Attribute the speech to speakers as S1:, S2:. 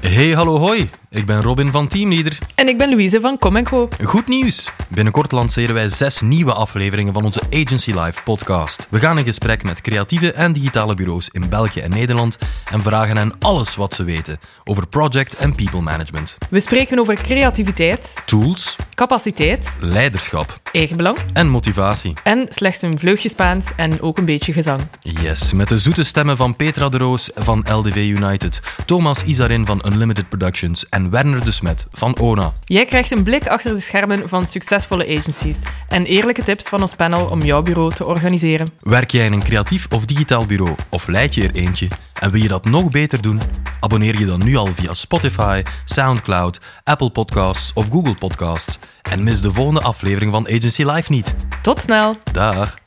S1: Hey, hallo, hoi. Ik ben Robin van Teamleader.
S2: En ik ben Louise van Com Co.
S1: Goed nieuws! Binnenkort lanceren wij zes nieuwe afleveringen van onze Agency Live podcast. We gaan in gesprek met creatieve en digitale bureaus in België en Nederland en vragen hen alles wat ze weten over project en people management,
S2: We spreken over creativiteit,
S1: tools,
S2: capaciteit,
S1: leiderschap
S2: eigenbelang
S1: en motivatie.
S2: en slechts een vleugje Spaans en ook een beetje gezang.
S1: Yes, met de zoete stemmen van Petra de Roos van LDV United, Thomas Isarin van Unlimited Productions en Werner de Smet van ONA.
S2: Jij krijgt een blik achter de schermen van succesvolle agencies en eerlijke tips van ons panel om jouw bureau te organiseren.
S1: Werk jij in een creatief of digitaal bureau of leid je er eentje en wil je dat nog beter doen? Abonneer je dan nu al via Spotify, SoundCloud, Apple Podcasts of Google Podcasts en mis de volgende aflevering van Agency Live niet.
S2: Tot snel!
S1: Dag.